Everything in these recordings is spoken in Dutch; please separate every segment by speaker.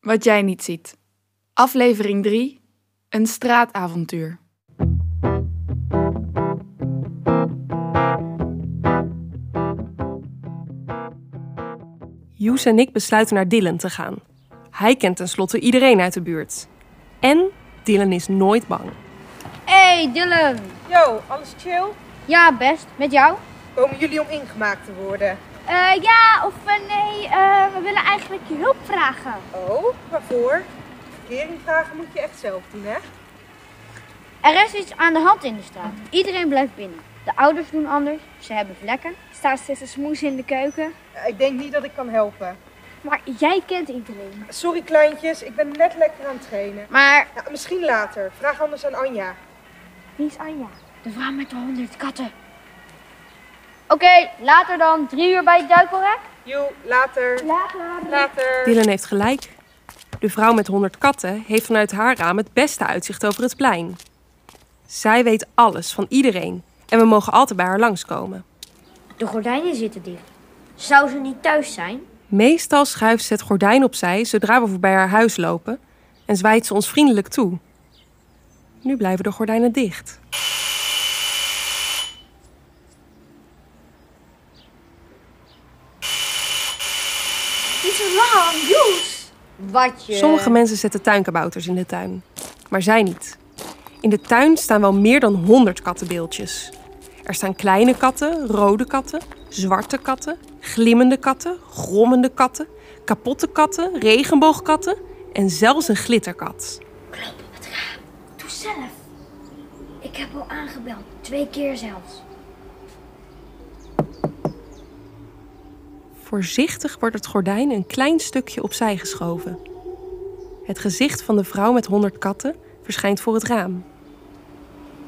Speaker 1: Wat jij niet ziet. Aflevering 3. Een straatavontuur.
Speaker 2: Joes en ik besluiten naar Dylan te gaan. Hij kent tenslotte iedereen uit de buurt. En Dylan is nooit bang.
Speaker 3: Hey Dylan.
Speaker 4: Yo, alles chill?
Speaker 3: Ja, best. Met jou?
Speaker 4: Komen jullie om ingemaakt te worden?
Speaker 3: Eh, ja, of eh, nee, eh, we willen eigenlijk je hulp vragen.
Speaker 4: Oh, waarvoor? Verkering vragen moet je echt zelf doen, hè?
Speaker 3: Er is iets aan de hand in de straat. Iedereen blijft binnen. De ouders doen anders, ze hebben vlekken. Staat steeds een smoes in de keuken.
Speaker 4: Eh, Ik denk niet dat ik kan helpen.
Speaker 3: Maar jij kent iedereen.
Speaker 4: Sorry kleintjes, ik ben net lekker aan het trainen.
Speaker 3: Maar
Speaker 4: Nou, misschien later. Vraag anders aan Anja.
Speaker 3: wie is Anja? De vrouw met de honderd katten. Oké, later dan. Drie uur bij het duikelrek?
Speaker 4: Joe, later.
Speaker 3: Later.
Speaker 4: Later.
Speaker 2: Dylan heeft gelijk. De vrouw met 100 katten heeft vanuit haar raam het beste uitzicht over het plein. Zij weet alles van iedereen en we mogen altijd bij haar langskomen.
Speaker 5: De gordijnen zitten dicht. Zou ze niet thuis zijn?
Speaker 2: Meestal schuift ze het gordijn opzij zodra we voorbij haar huis lopen en zwaait ze ons vriendelijk toe. Nu blijven de gordijnen dicht.
Speaker 5: Niet zo lang, Joes!
Speaker 3: Wat je.
Speaker 2: Sommige mensen zetten tuinkabouters in de tuin, maar zij niet. In de tuin staan wel meer dan 100 kattenbeeldjes. Er staan kleine katten, rode katten, zwarte katten, glimmende katten, grommende katten, kapotte katten, regenboogkatten en zelfs een glitterkat.
Speaker 5: Doe zelf. Ik heb al aangebeld, twee keer zelfs.
Speaker 2: Voorzichtig wordt het gordijn een klein stukje opzij geschoven. Het gezicht van de vrouw met 100 katten verschijnt voor het raam.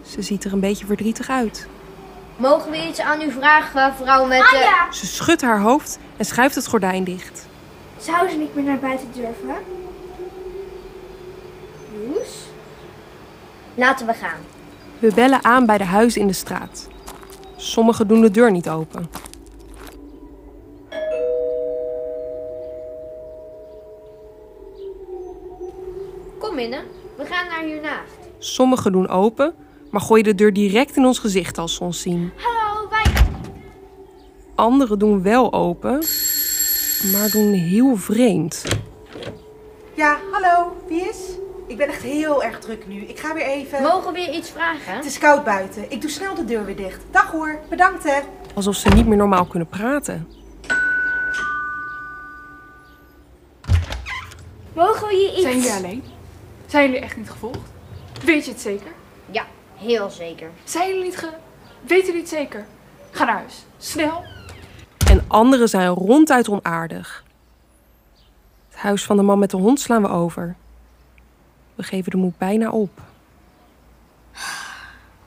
Speaker 2: Ze ziet er een beetje verdrietig uit.
Speaker 3: Mogen we iets aan u vragen, vrouw met.
Speaker 6: Ah,
Speaker 3: eh, de.
Speaker 2: Ze schudt haar hoofd en schuift het gordijn dicht.
Speaker 5: Zou ze niet meer naar buiten durven? Joes? Laten we gaan.
Speaker 2: We bellen aan bij de huizen in de straat. Sommigen doen de deur niet open.
Speaker 3: Kom binnen. We gaan naar hiernaast.
Speaker 2: Sommigen doen open, maar gooien de deur direct in ons gezicht als ze ons zien.
Speaker 3: Hallo, wij.
Speaker 2: Anderen doen wel open, maar doen heel vreemd.
Speaker 4: Ja, hallo. Wie is? Ik ben echt heel erg druk nu. Ik ga weer even.
Speaker 3: Mogen we je iets vragen?
Speaker 4: Het is koud buiten. Ik doe snel de deur weer dicht. Dag hoor. Bedankt hè.
Speaker 2: Alsof ze niet meer normaal kunnen praten.
Speaker 5: Mogen we je iets...
Speaker 1: Zijn jullie alleen? Zijn jullie echt niet gevolgd? Weet je het zeker?
Speaker 3: Ja, heel zeker.
Speaker 1: Zijn jullie niet ge... Weten jullie het zeker? Ga naar huis. Snel.
Speaker 2: En anderen zijn ronduit onaardig. Het huis van de man met de hond slaan we over. We geven de moed bijna op.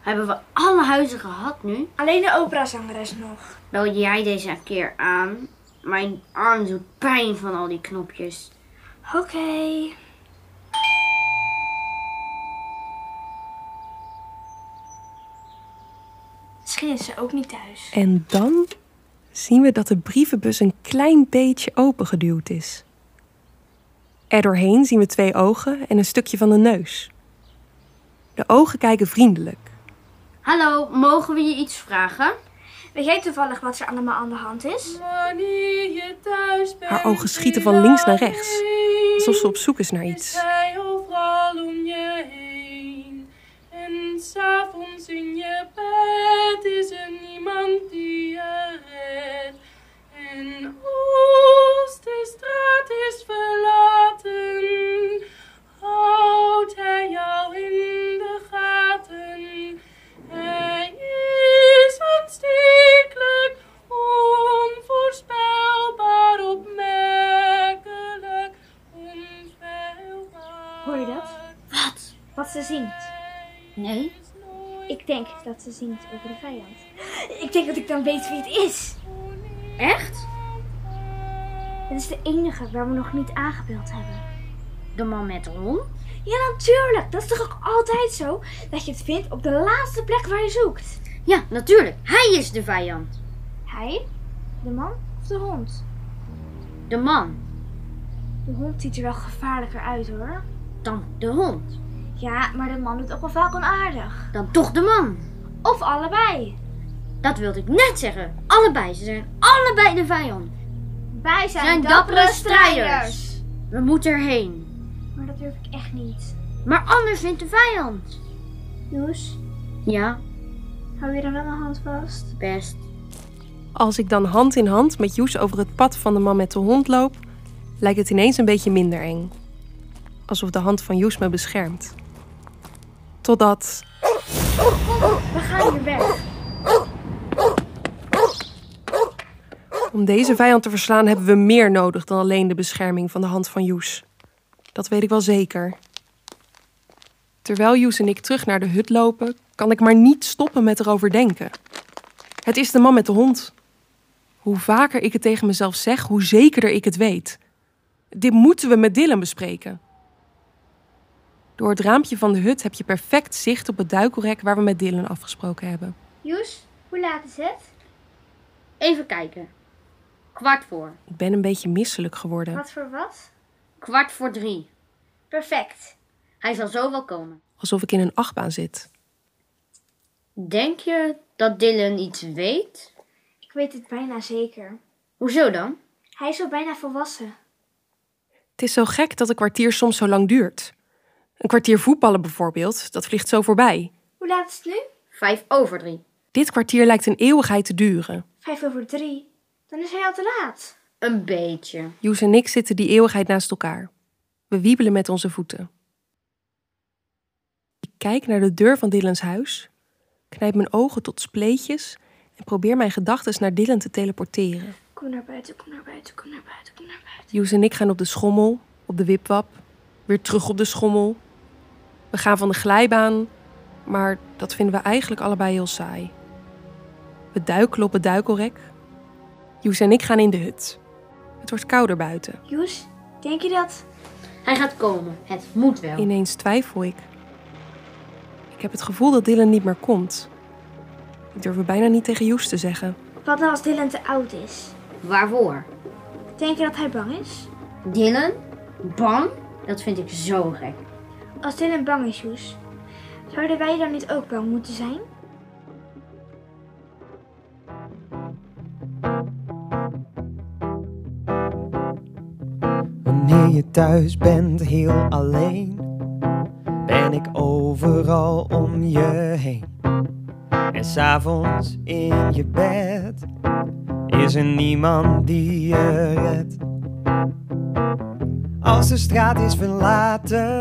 Speaker 5: Hebben we alle huizen gehad nu?
Speaker 6: Alleen de operazangeres nog.
Speaker 5: Bel jij deze keer aan? Mijn arm doet pijn van al die knopjes.
Speaker 6: Oké. Misschien is ze ook niet thuis.
Speaker 2: En dan zien we dat de brievenbus een klein beetje opengeduwd is. Er doorheen zien we twee ogen en een stukje van de neus. De ogen kijken vriendelijk.
Speaker 5: Hallo, mogen we je iets vragen?
Speaker 6: Weet jij toevallig wat er allemaal aan de hand is?
Speaker 2: Haar ogen schieten van links naar rechts, alsof ze op zoek is naar iets.
Speaker 7: Zij overal om je heen. En s'avonds in je bed is er niemand die je redt. En oost, de straat is verlaten. Houdt hij jou in de gaten? Hij is aanstekelijk, onvoorspelbaar, opmerkelijk, onfeilbaar.
Speaker 6: Hoor je dat?
Speaker 5: Wat?
Speaker 6: Wat ze zingt.
Speaker 5: Nee?
Speaker 6: Ik denk dat ze zingt over de vijand. Ik denk dat ik dan weet wie het is.
Speaker 5: Echt?
Speaker 6: Het is de enige waar we nog niet aangebeeld hebben.
Speaker 5: De man met de hond?
Speaker 6: Ja, natuurlijk. Dat is toch ook altijd zo? Dat je het vindt op de laatste plek waar je zoekt.
Speaker 5: Ja, natuurlijk. Hij is de vijand.
Speaker 6: Hij? De man of de hond?
Speaker 5: De man.
Speaker 6: De hond ziet er wel gevaarlijker uit hoor.
Speaker 5: Dan de hond.
Speaker 6: Ja, maar de man doet ook wel vaak onaardig.
Speaker 5: Dan toch de man.
Speaker 6: Of allebei.
Speaker 5: Dat wilde ik net zeggen. Allebei. Ze zijn allebei de vijand.
Speaker 6: Wij zijn,
Speaker 5: Zijn dappere strijders. We moeten erheen.
Speaker 6: Maar dat durf ik echt niet.
Speaker 5: Maar anders wint de vijand.
Speaker 6: Joes,
Speaker 5: Ja,
Speaker 6: hou je dan wel mijn hand vast?
Speaker 5: best.
Speaker 2: Als ik dan hand in hand met Joes over het pad van de man met de hond loop, lijkt het ineens een beetje minder eng. Alsof de hand van Joes me beschermt. Totdat.
Speaker 6: We gaan hier weg.
Speaker 2: Om deze vijand te verslaan hebben we meer nodig dan alleen de bescherming van de hand van Joes. Dat weet ik wel zeker. Terwijl Joes en ik terug naar de hut lopen, kan ik maar niet stoppen met erover denken. Het is de man met de hond. Hoe vaker ik het tegen mezelf zeg, hoe zekerder ik het weet. Dit moeten we met Dylan bespreken. Door het raampje van de hut heb je perfect zicht op het duikelrek waar we met Dylan afgesproken hebben.
Speaker 6: Joes, hoe laat is het?
Speaker 5: Even kijken. Kwart voor.
Speaker 2: Ik ben een beetje misselijk geworden.
Speaker 6: Wat voor wat?
Speaker 5: Kwart voor drie.
Speaker 6: Perfect.
Speaker 5: Hij zal zo wel komen.
Speaker 2: Alsof ik in een achtbaan zit.
Speaker 5: Denk je dat Dylan iets weet?
Speaker 6: Ik weet het bijna zeker.
Speaker 5: Hoezo dan?
Speaker 6: Hij is al bijna volwassen.
Speaker 2: Het is zo gek dat een kwartier soms zo lang duurt. Een kwartier voetballen bijvoorbeeld, dat vliegt zo voorbij.
Speaker 6: Hoe laat is het nu?
Speaker 5: Vijf over drie.
Speaker 2: Dit kwartier lijkt een eeuwigheid te duren.
Speaker 6: Vijf over drie. Dan is hij al te laat.
Speaker 5: Een beetje.
Speaker 2: Joes en ik zitten die eeuwigheid naast elkaar. We wiebelen met onze voeten. Ik kijk naar de deur van Dylan's huis, knijp mijn ogen tot spleetjes en probeer mijn gedachten naar Dylan te teleporteren.
Speaker 6: Kom naar buiten, kom naar buiten, kom naar buiten, kom naar buiten.
Speaker 2: Joes en ik gaan op de schommel, op de wipwap, weer terug op de schommel. We gaan van de glijbaan, maar dat vinden we eigenlijk allebei heel saai. We duikelen op het duikelrek. Joes en ik gaan in de hut. Het wordt kouder buiten.
Speaker 6: Joes, denk je dat?
Speaker 5: Hij gaat komen. Het moet wel.
Speaker 2: Ineens twijfel ik. Ik heb het gevoel dat Dylan niet meer komt. Ik durf het bijna niet tegen Joes te zeggen.
Speaker 6: Wat nou als Dylan te oud is?
Speaker 5: Waarvoor?
Speaker 6: Denk je dat hij bang is?
Speaker 5: Dylan? Bang? Dat vind ik zo gek.
Speaker 6: Als Dylan bang is, Joes, zouden wij dan niet ook bang moeten zijn?
Speaker 8: Wanneer je thuis bent heel alleen, ben ik overal om je heen. En s'avonds in je bed is er niemand die je redt. Als de straat is verlaten,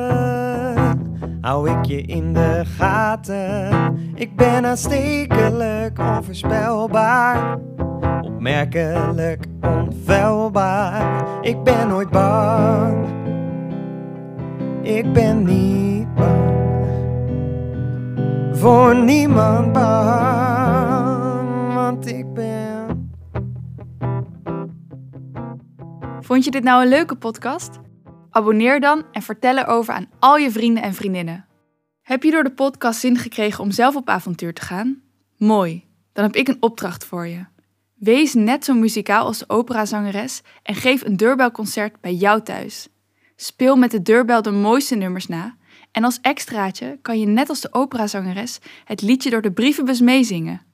Speaker 8: hou ik je in de gaten. Ik ben aanstekelijk, onvoorspelbaar opmerkelijk onfeilbaar. Ik ben nooit bang. Ik ben niet bang. Voor niemand bang, want ik ben.
Speaker 1: Vond je dit nou een leuke podcast? Abonneer dan en vertel erover aan al je vrienden en vriendinnen. Heb je door de podcast zin gekregen om zelf op avontuur te gaan? Mooi, dan heb ik een opdracht voor je. Wees net zo muzikaal als de operazangeres en geef een deurbelconcert bij jou thuis. Speel met de deurbel de mooiste nummers na en als extraatje kan je net als de operazangeres het liedje door de brievenbus meezingen.